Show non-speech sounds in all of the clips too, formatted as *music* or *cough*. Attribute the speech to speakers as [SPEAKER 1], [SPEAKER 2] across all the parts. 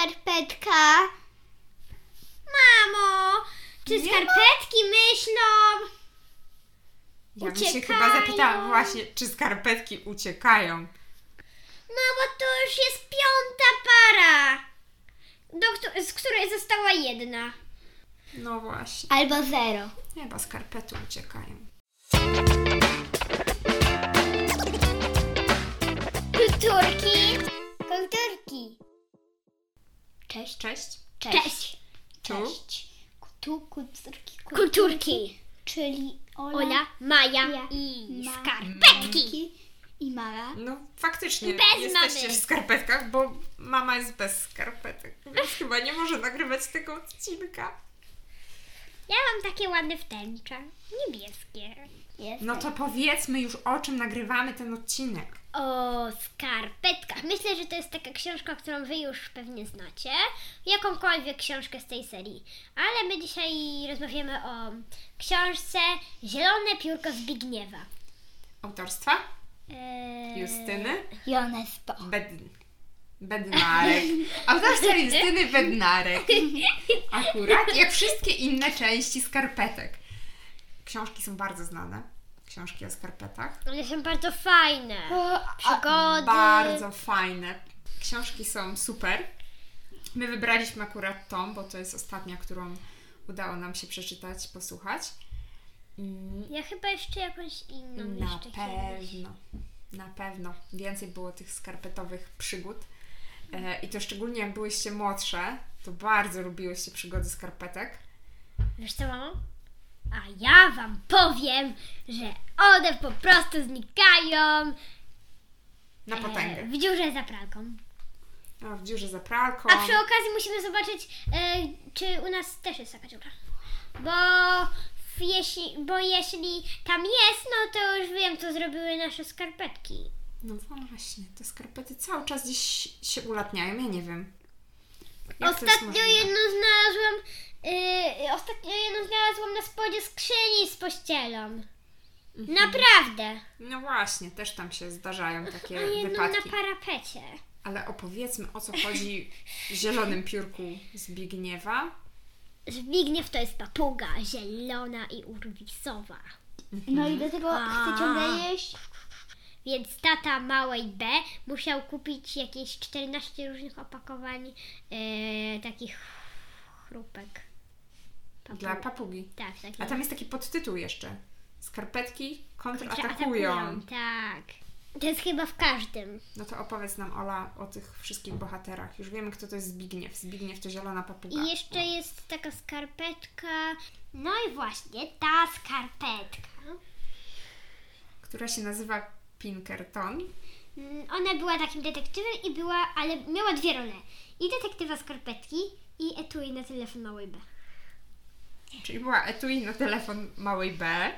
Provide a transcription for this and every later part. [SPEAKER 1] skarpetka. Mamo, czy
[SPEAKER 2] Nie ma?
[SPEAKER 1] skarpetki myślą?
[SPEAKER 2] Ja bym się
[SPEAKER 1] Uciekają.
[SPEAKER 2] chyba zapytała właśnie, czy skarpetki uciekają.
[SPEAKER 1] No bo to już jest piąta para, do, któ- z której została jedna.
[SPEAKER 2] No właśnie.
[SPEAKER 1] Albo zero.
[SPEAKER 2] Chyba skarpety uciekają.
[SPEAKER 1] Kulturki. Kulturki. Cześć.
[SPEAKER 2] Cześć.
[SPEAKER 1] Cześć. Cześć. Tu kulturki. Kulturki. Czyli Ola,
[SPEAKER 3] Ola, Maja
[SPEAKER 1] Ja.
[SPEAKER 3] i
[SPEAKER 1] Ma-
[SPEAKER 3] skarpetki.
[SPEAKER 1] i Mara.
[SPEAKER 2] No faktycznie
[SPEAKER 3] Bez
[SPEAKER 2] jesteście
[SPEAKER 3] mamy.
[SPEAKER 2] w skarpetkach, bo mama jest bez skarpetek, więc chyba nie może nagrywać tego odcinka.
[SPEAKER 3] Ja mam takie ładne wtęcza, niebieskie.
[SPEAKER 1] Jest.
[SPEAKER 2] No to powiedzmy już o czym nagrywamy ten odcinek.
[SPEAKER 3] O skarpetkach. Myślę, że to jest taka książka, którą wy już pewnie znacie. Jakąkolwiek książkę z tej serii. Ale my dzisiaj rozmawiamy o książce Zielone piórko Zbigniewa.
[SPEAKER 2] Autorstwa
[SPEAKER 3] Eee,
[SPEAKER 2] Justyny
[SPEAKER 1] Jonas Boch.
[SPEAKER 2] Bedn... Bednarek. Autorstwa Justyny Bednarek. Akurat jak wszystkie inne części skarpetek. Książki są bardzo znane. Książki o skarpetach.
[SPEAKER 3] One są bardzo fajne. Przygody.
[SPEAKER 2] Bardzo fajne. Książki są super. My wybraliśmy akurat tą, bo to jest ostatnia, którą udało nam się przeczytać, posłuchać. Mm,
[SPEAKER 3] Ja chyba jeszcze jakąś inną
[SPEAKER 2] Na
[SPEAKER 3] No, jeszcze kiedyś.
[SPEAKER 2] pewno. Na pewno. Więcej było tych skarpetowych przygód. E, I to szczególnie jak byłyście młodsze, to bardzo lubiłyście przygody skarpetek.
[SPEAKER 3] Wiesz co, mamo? A ja wam powiem, że one po prostu znikają
[SPEAKER 2] Na
[SPEAKER 3] e,
[SPEAKER 2] potęgę.
[SPEAKER 3] w dziurze za pralką.
[SPEAKER 2] A w dziurze za pralką.
[SPEAKER 3] A przy okazji musimy zobaczyć, e, czy u nas też jest taka dziura. Bo w- jeśli, bo jeśli tam jest, no to już wiem, co zrobiły nasze skarpetki.
[SPEAKER 2] No właśnie, te skarpety cały czas gdzieś się ulatniają, ja nie wiem. Jak to jest
[SPEAKER 3] Ostatnio
[SPEAKER 2] możliwe?
[SPEAKER 3] jedną znalazłam, e, ostatnio jedną znalazłam na spodzie skrzyni z pościelą.
[SPEAKER 2] Mhm.
[SPEAKER 3] Naprawdę.
[SPEAKER 2] No właśnie, też tam się zdarzają takie
[SPEAKER 3] A jedną
[SPEAKER 2] wypadki.
[SPEAKER 3] na parapecie.
[SPEAKER 2] Ale opowiedzmy o co chodzi w zielonym piórku Zbigniewa.
[SPEAKER 3] Zbigniew to jest papuga zielona i urwisowa.
[SPEAKER 1] No i do tego
[SPEAKER 3] A.
[SPEAKER 1] chce ciągle jeść.
[SPEAKER 3] Więc tata małej B musiał kupić jakieś 14 różnych opakowań yy, takich chrupek. Papu-
[SPEAKER 2] Dla papugi.
[SPEAKER 3] Tak, tak.
[SPEAKER 2] A tam jest taki podtytuł jeszcze. Skarpetki
[SPEAKER 3] Atakują,
[SPEAKER 2] kontratakują.
[SPEAKER 3] Tak. To jest chyba w każdym.
[SPEAKER 2] No to opowiedz nam, Ola, o tych wszystkich bohaterach. Już wiemy, kto to jest Zbigniew. Zbigniew to zielona papuga. No.
[SPEAKER 3] I jeszcze jest taka skarpetka. No i właśnie ta skarpetka.
[SPEAKER 2] Która się nazywa Pinkerton.
[SPEAKER 3] Mm, Ona była takim detektywem i była, ale miała dwie role. I detektywa skarpetki i etui na telefon małej B.
[SPEAKER 2] Czyli była etui na telefon małej B.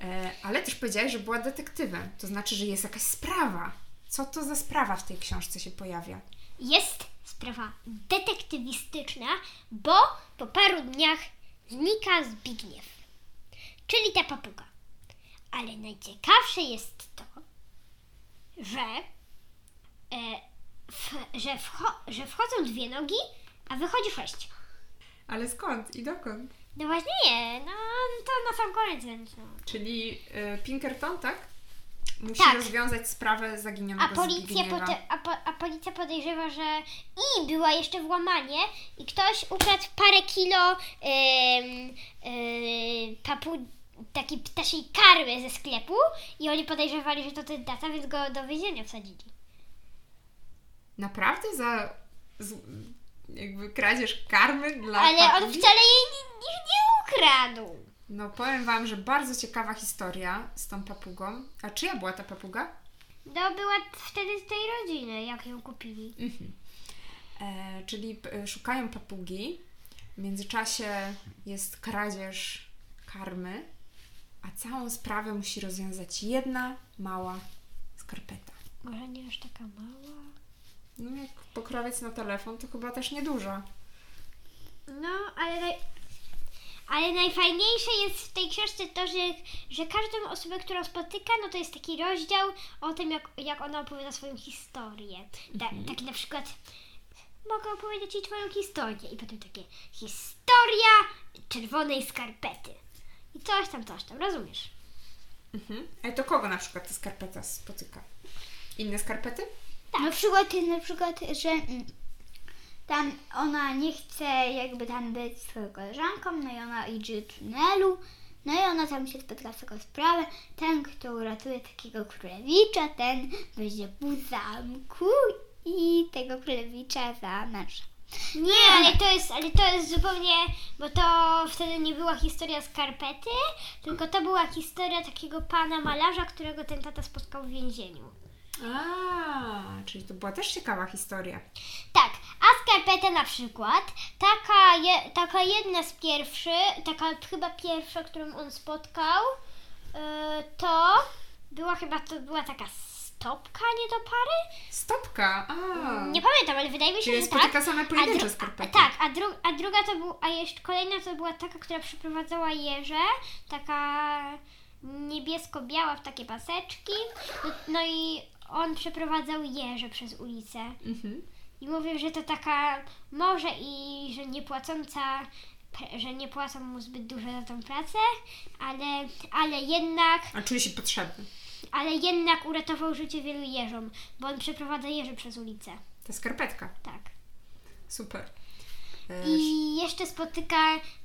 [SPEAKER 2] E, Ale też powiedziałaś, że była detektywem. To znaczy, że jest jakaś sprawa. Co to za sprawa w tej książce się pojawia?
[SPEAKER 3] Jest sprawa detektywistyczna, bo po paru dniach znika Zbigniew, czyli ta papuga. Ale najciekawsze jest to, że, e, w, że, wcho, że wchodzą dwie nogi, a wychodzi sześć.
[SPEAKER 2] Ale skąd i dokąd?
[SPEAKER 3] No właśnie nie, no to na sam koniec no. będzie.
[SPEAKER 2] Czyli y, Pinkerton, tak? Musi
[SPEAKER 3] Tak.
[SPEAKER 2] rozwiązać sprawę
[SPEAKER 3] A
[SPEAKER 2] zaginionego
[SPEAKER 3] policja,
[SPEAKER 2] Zbigniewa.
[SPEAKER 3] pote, a, po, a policja podejrzewa, że i była jeszcze włamanie i ktoś ukradł parę kilo ym, yy, papu, takiej ptasiej karmy ze sklepu i oni podejrzewali, że to ten tata, więc go do więzienia wsadzili.
[SPEAKER 2] Naprawdę za z, jakby kradzież karmy dla
[SPEAKER 3] Ale on
[SPEAKER 2] papugi?
[SPEAKER 3] wcale jej nie, nie, nie ukradł.
[SPEAKER 2] No powiem Wam, że bardzo ciekawa historia z tą papugą. A czyja była ta papuga?
[SPEAKER 3] No była wtedy z tej rodziny, jak ją kupili.
[SPEAKER 2] E, czyli p- szukają papugi. W międzyczasie jest kradzież karmy, a całą sprawę musi rozwiązać jedna mała skarpeta.
[SPEAKER 3] Może nie aż taka mała?
[SPEAKER 2] No jak pokrowiec na telefon, to chyba też nieduża.
[SPEAKER 3] No, ale, naj... ale najfajniejsze jest w tej książce to, że, że każdą osobę, którą spotyka, no to jest taki rozdział o tym, jak, jak ona opowiada swoją historię. Ta, Taki na przykład mogę opowiedzieć Ci Twoją historię. I potem takie historia czerwonej skarpety. I coś tam, coś tam, rozumiesz?
[SPEAKER 2] Mhm. Ale to kogo na przykład ta skarpeta spotyka? Inne skarpety?
[SPEAKER 3] Tak.
[SPEAKER 4] Na przykład, na przykład, że mm, tam ona nie chce jakby tam być swoją koleżanką, no i ona idzie do tunelu, no i ona tam się spotka z taką sprawę, ten, kto uratuje takiego królewicza, ten będzie pół zamku i tego królewicza za męża.
[SPEAKER 3] Nie, ale to jest, ale to jest zupełnie, bo to wtedy nie była historia skarpety, tylko to była historia takiego pana malarza, którego ten tata spotkał w więzieniu.
[SPEAKER 2] A, czyli to była też ciekawa historia.
[SPEAKER 3] Tak, a skarpeta na przykład, taka, je, taka jedna z pierwszych, taka chyba pierwsza, którą on spotkał, yy, to była chyba, to była taka stopka nie do pary?
[SPEAKER 2] Stopka! A,
[SPEAKER 3] Nie pamiętam, ale wydaje mi się,
[SPEAKER 2] czyli
[SPEAKER 3] że tak.
[SPEAKER 2] spotyka same
[SPEAKER 3] A,
[SPEAKER 2] pojedyncze
[SPEAKER 3] dru- a,
[SPEAKER 2] skarpety.
[SPEAKER 3] tak, a, dru- a druga to był, a jeszcze kolejna to była taka, która przyprowadzała jeże, taka niebiesko-biała w takie paseczki. No, no i on przeprowadzał jeże przez ulicę
[SPEAKER 2] Mhm.
[SPEAKER 3] i mówił, że to taka może i że nie płacąca, pr- że nie płacą mu zbyt dużo za tą pracę, ale, ale jednak
[SPEAKER 2] A czuje się potrzebny.
[SPEAKER 3] ale jednak uratował życie wielu jeżom, bo on przeprowadza jeże przez ulicę.
[SPEAKER 2] Ta skarpetka.
[SPEAKER 3] Tak.
[SPEAKER 2] Super.
[SPEAKER 3] I jeszcze spotyka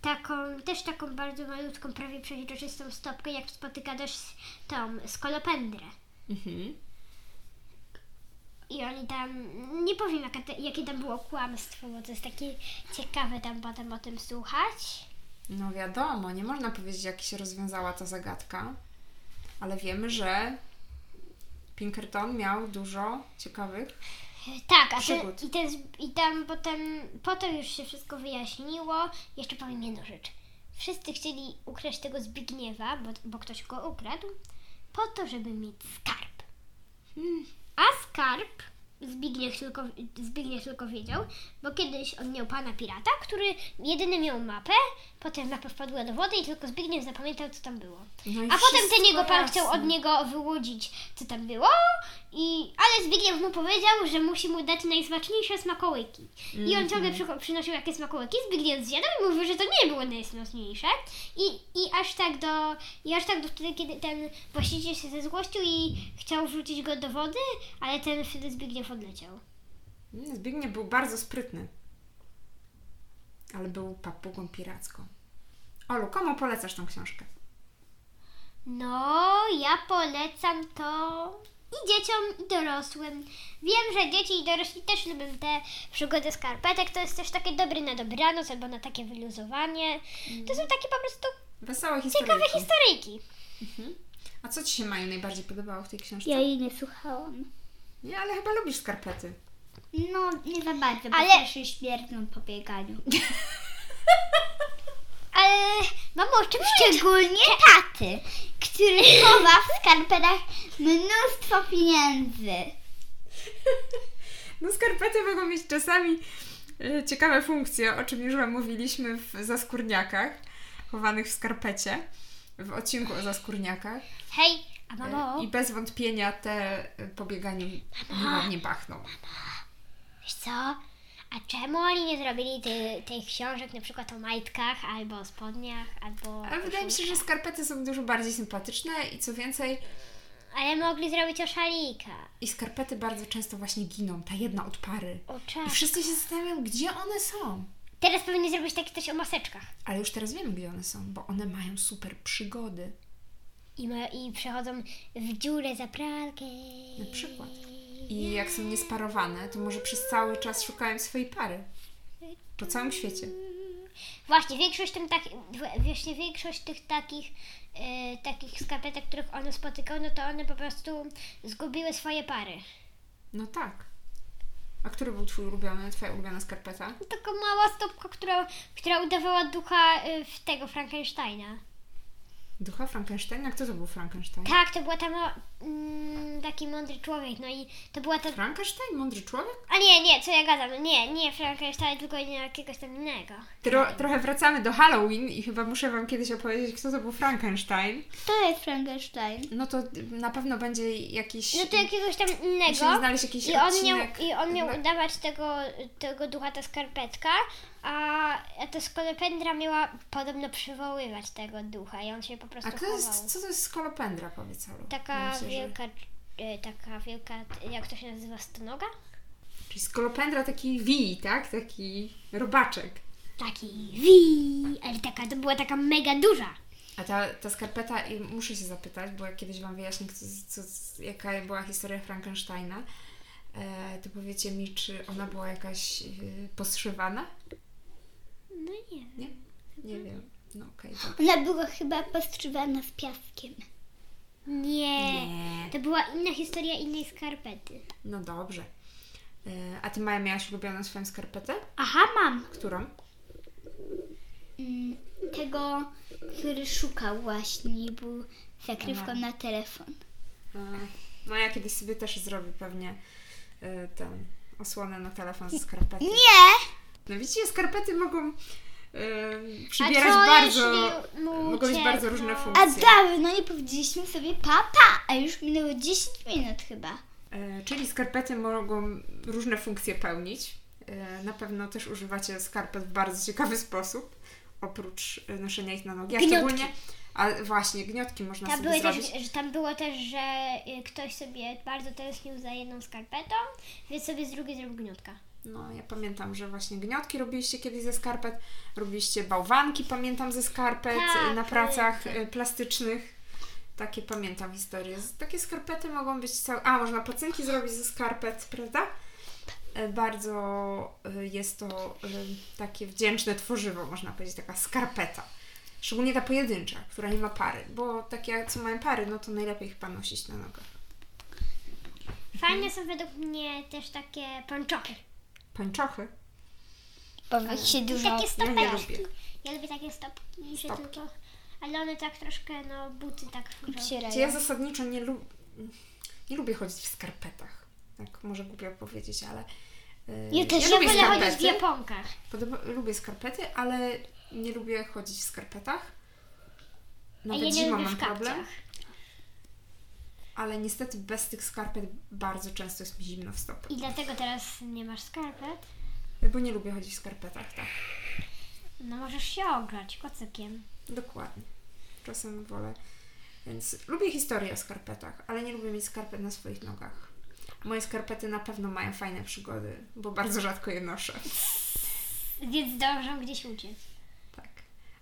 [SPEAKER 3] taką, też taką bardzo malutką, prawie przeźroczystą stopkę, jak spotyka też s- tą skolopendrę.
[SPEAKER 2] Mhm.
[SPEAKER 3] I oni tam, nie powiem jaka te, jakie tam było kłamstwo, bo to jest takie ciekawe tam potem o tym słuchać.
[SPEAKER 2] No wiadomo, nie można powiedzieć, jak się rozwiązała ta zagadka, ale wiemy, że Pinkerton miał dużo ciekawych.
[SPEAKER 3] Tak, a ten,
[SPEAKER 2] Przygód.
[SPEAKER 3] i, ten, z- i tam potem, potem już się wszystko wyjaśniło. Jeszcze powiem jedną rzecz. Wszyscy chcieli ukraść tego Zbigniewa, bo, bo ktoś go ukradł, po to, żeby mieć skarb.
[SPEAKER 2] Hmm.
[SPEAKER 3] A skarb Zbigniew tylko, Zbigniew tylko wiedział, bo kiedyś on miał pana pirata, który jedyny miał mapę, potem mapa wpadła do wody i tylko Zbigniew zapamiętał, co tam było.
[SPEAKER 2] No i
[SPEAKER 3] A potem
[SPEAKER 2] wszystko
[SPEAKER 3] ten jego pan
[SPEAKER 2] jasne.
[SPEAKER 3] chciał od niego wyłudzić, co tam było, i, ale Zbigniew mu powiedział, że musi mu dać najsmaczniejsze smakołyki. I on
[SPEAKER 2] Mhm.
[SPEAKER 3] ciągle przy, przynosił jakieś smakołyki, Zbigniew zjadał i mówił, że to nie było najsmaczniejsze. I, i aż tak do i aż tak do wtedy, kiedy ten właściciel się zezłościł i chciał wrzucić go do wody, ale ten wtedy Zbigniew odleciał.
[SPEAKER 2] Mm, Zbigniew był bardzo sprytny, ale był papugą piracką. Olu, komu polecasz tą książkę?
[SPEAKER 3] No, ja polecam to i dzieciom, i dorosłym. Wiem, że dzieci i dorośli też lubią te przygody skarpetek. To jest też takie dobre na dobranoc albo na takie wyluzowanie. To są takie po prostu
[SPEAKER 2] Wesołe
[SPEAKER 3] ciekawe
[SPEAKER 2] historie.
[SPEAKER 3] historyjki.
[SPEAKER 2] A co Ci się Maju najbardziej podobało w tej książce?
[SPEAKER 4] Ja jej nie słuchałam.
[SPEAKER 2] Nie, ale chyba lubisz skarpety.
[SPEAKER 4] No, nie za bardzo, bo
[SPEAKER 3] Ale-
[SPEAKER 4] Ale... też śmierdzą po bieganiu.
[SPEAKER 3] *laughs* Ale mamo, o czym szczegół?
[SPEAKER 4] Szczególnie taty, który chowa w skarpetach mnóstwo pieniędzy.
[SPEAKER 2] No skarpety mogą mieć czasami e, ciekawe funkcje, o czym już Wam mówiliśmy w zaskórniakach, chowanych w skarpecie, w odcinku o zaskórniakach.
[SPEAKER 3] Hej, a
[SPEAKER 2] E,
[SPEAKER 3] mamo,
[SPEAKER 2] I bez wątpienia te e, pobieganiu nieładnie pachną.
[SPEAKER 3] wiesz co? A czemu oni nie zrobili ty, tych książek na przykład o majtkach, albo o spodniach, albo...
[SPEAKER 2] Ale
[SPEAKER 3] o
[SPEAKER 2] wydaje mi się, że
[SPEAKER 3] koszulkach?
[SPEAKER 2] skarpety są dużo bardziej sympatyczne i co więcej,
[SPEAKER 3] Ale mogli zrobić o szalikach.
[SPEAKER 2] i skarpety bardzo często właśnie giną, ta jedna od pary.
[SPEAKER 3] O
[SPEAKER 2] I
[SPEAKER 3] czas.
[SPEAKER 2] wszyscy się zastanawiają, gdzie one są.
[SPEAKER 3] Teraz powinni zrobić takie coś o maseczkach.
[SPEAKER 2] Ale już teraz wiemy, gdzie one są, bo one mają super przygody.
[SPEAKER 3] I, ma, i przechodzą w dziurę za pralkę.
[SPEAKER 2] Na przykład. I jak są niesparowane, to może przez cały czas szukałem swojej pary. Po całym świecie.
[SPEAKER 3] Właśnie, większość, tym tak, właśnie większość tych takich, e, takich skarpetek, których one spotykały, no to one po prostu zgubiły swoje pary.
[SPEAKER 2] No tak. A który był twój ulubiony, twoja ulubiona skarpeta?
[SPEAKER 3] Taka mała stopka, która, która udawała ducha y, w tego Frankensteina.
[SPEAKER 2] Ducha Frankensteina? Kto to był Frankenstein?
[SPEAKER 3] Tak, to była tam mm, taki mądry człowiek, no i to była ta...
[SPEAKER 2] Frankenstein? Mądry człowiek?
[SPEAKER 3] A nie, nie, co ja gadam, nie, nie Frankenstein, tylko nie jakiegoś tam innego.
[SPEAKER 2] Tro, trochę wracamy do Halloween i chyba muszę Wam kiedyś opowiedzieć, kto to był Frankenstein.
[SPEAKER 4] To jest Frankenstein.
[SPEAKER 2] No to na pewno będzie jakiś...
[SPEAKER 3] No to jakiegoś tam
[SPEAKER 2] Musimy
[SPEAKER 3] innego.
[SPEAKER 2] znaleźć jakiś
[SPEAKER 3] I on miał,
[SPEAKER 2] odcinek.
[SPEAKER 3] i on miał
[SPEAKER 2] na-
[SPEAKER 3] udawać tego, tego ducha ta skarpetka, a, a ta skolopendra miała podobno przywoływać tego ducha i on się po prostu
[SPEAKER 2] A kto to
[SPEAKER 3] chował.
[SPEAKER 2] jest, co to jest skolopendra, powiedz Olu?
[SPEAKER 3] Taka
[SPEAKER 2] Ja myślę, że-
[SPEAKER 3] wielka, e, taka wielka, jak to się nazywa, stonoga?
[SPEAKER 2] Czyli skolopendra taki wij, tak? Taki robaczek.
[SPEAKER 3] Taki wi, ale taka, to była taka mega duża.
[SPEAKER 2] A ta, ta skarpeta, i muszę się zapytać, bo jak kiedyś Wam wyjaśnię, kto, co, jaka była historia Frankensteina, e, to powiecie mi, czy ona była jakaś e, poszywana?
[SPEAKER 3] No nie
[SPEAKER 2] Nie?
[SPEAKER 3] Mhm.
[SPEAKER 2] Nie wiem. No okej, dobra.
[SPEAKER 4] Ona była chyba postrzywana z piaskiem.
[SPEAKER 3] Nie.
[SPEAKER 2] Nie.
[SPEAKER 3] To była inna historia innej skarpety.
[SPEAKER 2] No dobrze. E, a Ty, Maja, miałaś ulubioną swoją skarpetę?
[SPEAKER 4] Aha, mam.
[SPEAKER 2] Którą?
[SPEAKER 4] Mm, Tego, który szukał właśnie i był zakrywką na telefon.
[SPEAKER 2] E, no ja kiedyś sobie też zrobię pewnie e, ten osłonę na telefon z skarpety.
[SPEAKER 4] Nie!
[SPEAKER 2] No widzicie, skarpety mogą e,
[SPEAKER 3] A
[SPEAKER 2] przybierać
[SPEAKER 3] co
[SPEAKER 2] bardzo...
[SPEAKER 3] jeśli mu
[SPEAKER 2] Mogą być
[SPEAKER 3] uciekną?
[SPEAKER 2] bardzo różne
[SPEAKER 4] A
[SPEAKER 2] funkcje.
[SPEAKER 4] dawno nie powiedzieliśmy sobie papa, a już minęło 10 minut chyba.
[SPEAKER 2] E, Czyli skarpety mogą różne funkcje pełnić. E, Na pewno też używacie skarpet w bardzo ciekawy sposób, oprócz e, noszenia ich na nogi. A
[SPEAKER 3] Gniotki.
[SPEAKER 2] szczególnie, a właśnie, gniotki można
[SPEAKER 3] Tam,
[SPEAKER 2] sobie
[SPEAKER 3] były też,
[SPEAKER 2] zrobić.
[SPEAKER 3] że tam było też, że y, ktoś sobie bardzo tęsknił za jedną skarpetą, więc sobie z drugiej zrobił gniutka.
[SPEAKER 2] No, ja pamiętam, że właśnie gniotki robiliście kiedyś ze skarpet, robiliście bałwanki, pamiętam, ze skarpet
[SPEAKER 3] Tak,
[SPEAKER 2] e, na pracach e, plastycznych. Takie pamiętam historie. Z- Takie skarpety mogą być całe... A, można pacynki zrobić ze skarpet, prawda? E, Bardzo e, jest to e, takie wdzięczne tworzywo, można powiedzieć, taka skarpeta. Szczególnie ta pojedyncza, która nie ma pary, bo takie, co mają pary, no to najlepiej chyba nosić na nogach.
[SPEAKER 3] Fajne są według mnie też takie ponczochy.
[SPEAKER 2] Pańczochy?
[SPEAKER 4] Bo wy się
[SPEAKER 3] I
[SPEAKER 4] dużo...
[SPEAKER 3] takie
[SPEAKER 2] Ja
[SPEAKER 3] stopeczki.
[SPEAKER 2] nie lubię.
[SPEAKER 3] Ja lubię takie stopki, że
[SPEAKER 2] Stopki.
[SPEAKER 3] tylko... Ale one tak troszkę, no buty tak... że-
[SPEAKER 2] Czy ja zasadniczo nie, lu- nie lubię chodzić w skarpetach. Tak, może głupio powiedzieć, ale. Yy,
[SPEAKER 3] Ja też
[SPEAKER 2] lubię
[SPEAKER 3] wolę chodzić w
[SPEAKER 2] skarpety.
[SPEAKER 3] japonkach.
[SPEAKER 2] Podoba- lubię skarpety, ale nie lubię chodzić w skarpetach.
[SPEAKER 3] A
[SPEAKER 2] Nawet
[SPEAKER 3] ja nie
[SPEAKER 2] zimą
[SPEAKER 3] lubię
[SPEAKER 2] mam
[SPEAKER 3] w
[SPEAKER 2] problem,
[SPEAKER 3] kapciach.
[SPEAKER 2] ale niestety bez tych skarpet bardzo często jest mi zimno w stopy.
[SPEAKER 3] I dlatego teraz nie masz skarpet.
[SPEAKER 2] Bo nie lubię chodzić w skarpetach, tak.
[SPEAKER 3] No możesz się ograć kocykiem.
[SPEAKER 2] Dokładnie. Czasem wolę. Więc lubię historię o skarpetach, ale nie lubię mieć skarpet na swoich nogach. Moje skarpety na pewno mają fajne przygody, bo bardzo rzadko je noszę.
[SPEAKER 3] Więc zdążą gdzieś uciec.
[SPEAKER 2] Tak.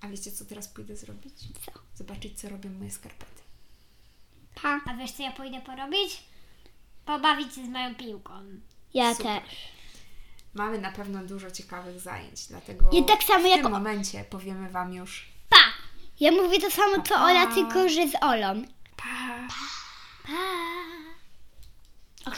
[SPEAKER 2] A wiecie, co teraz pójdę zrobić? Co? Zobaczyć, co robią moje skarpety.
[SPEAKER 4] Pa.
[SPEAKER 3] A wiesz co ja pójdę porobić? Pobawić się z moją piłką.
[SPEAKER 4] Ja
[SPEAKER 2] Super.
[SPEAKER 4] też.
[SPEAKER 2] Mamy na pewno dużo ciekawych zajęć, dlatego
[SPEAKER 4] I tak samo
[SPEAKER 2] w
[SPEAKER 4] jak
[SPEAKER 2] tym
[SPEAKER 4] o-
[SPEAKER 2] momencie powiemy Wam już
[SPEAKER 4] Ja mówię to samo co Ola, tylko że z Olą.
[SPEAKER 2] pa!
[SPEAKER 3] Pa!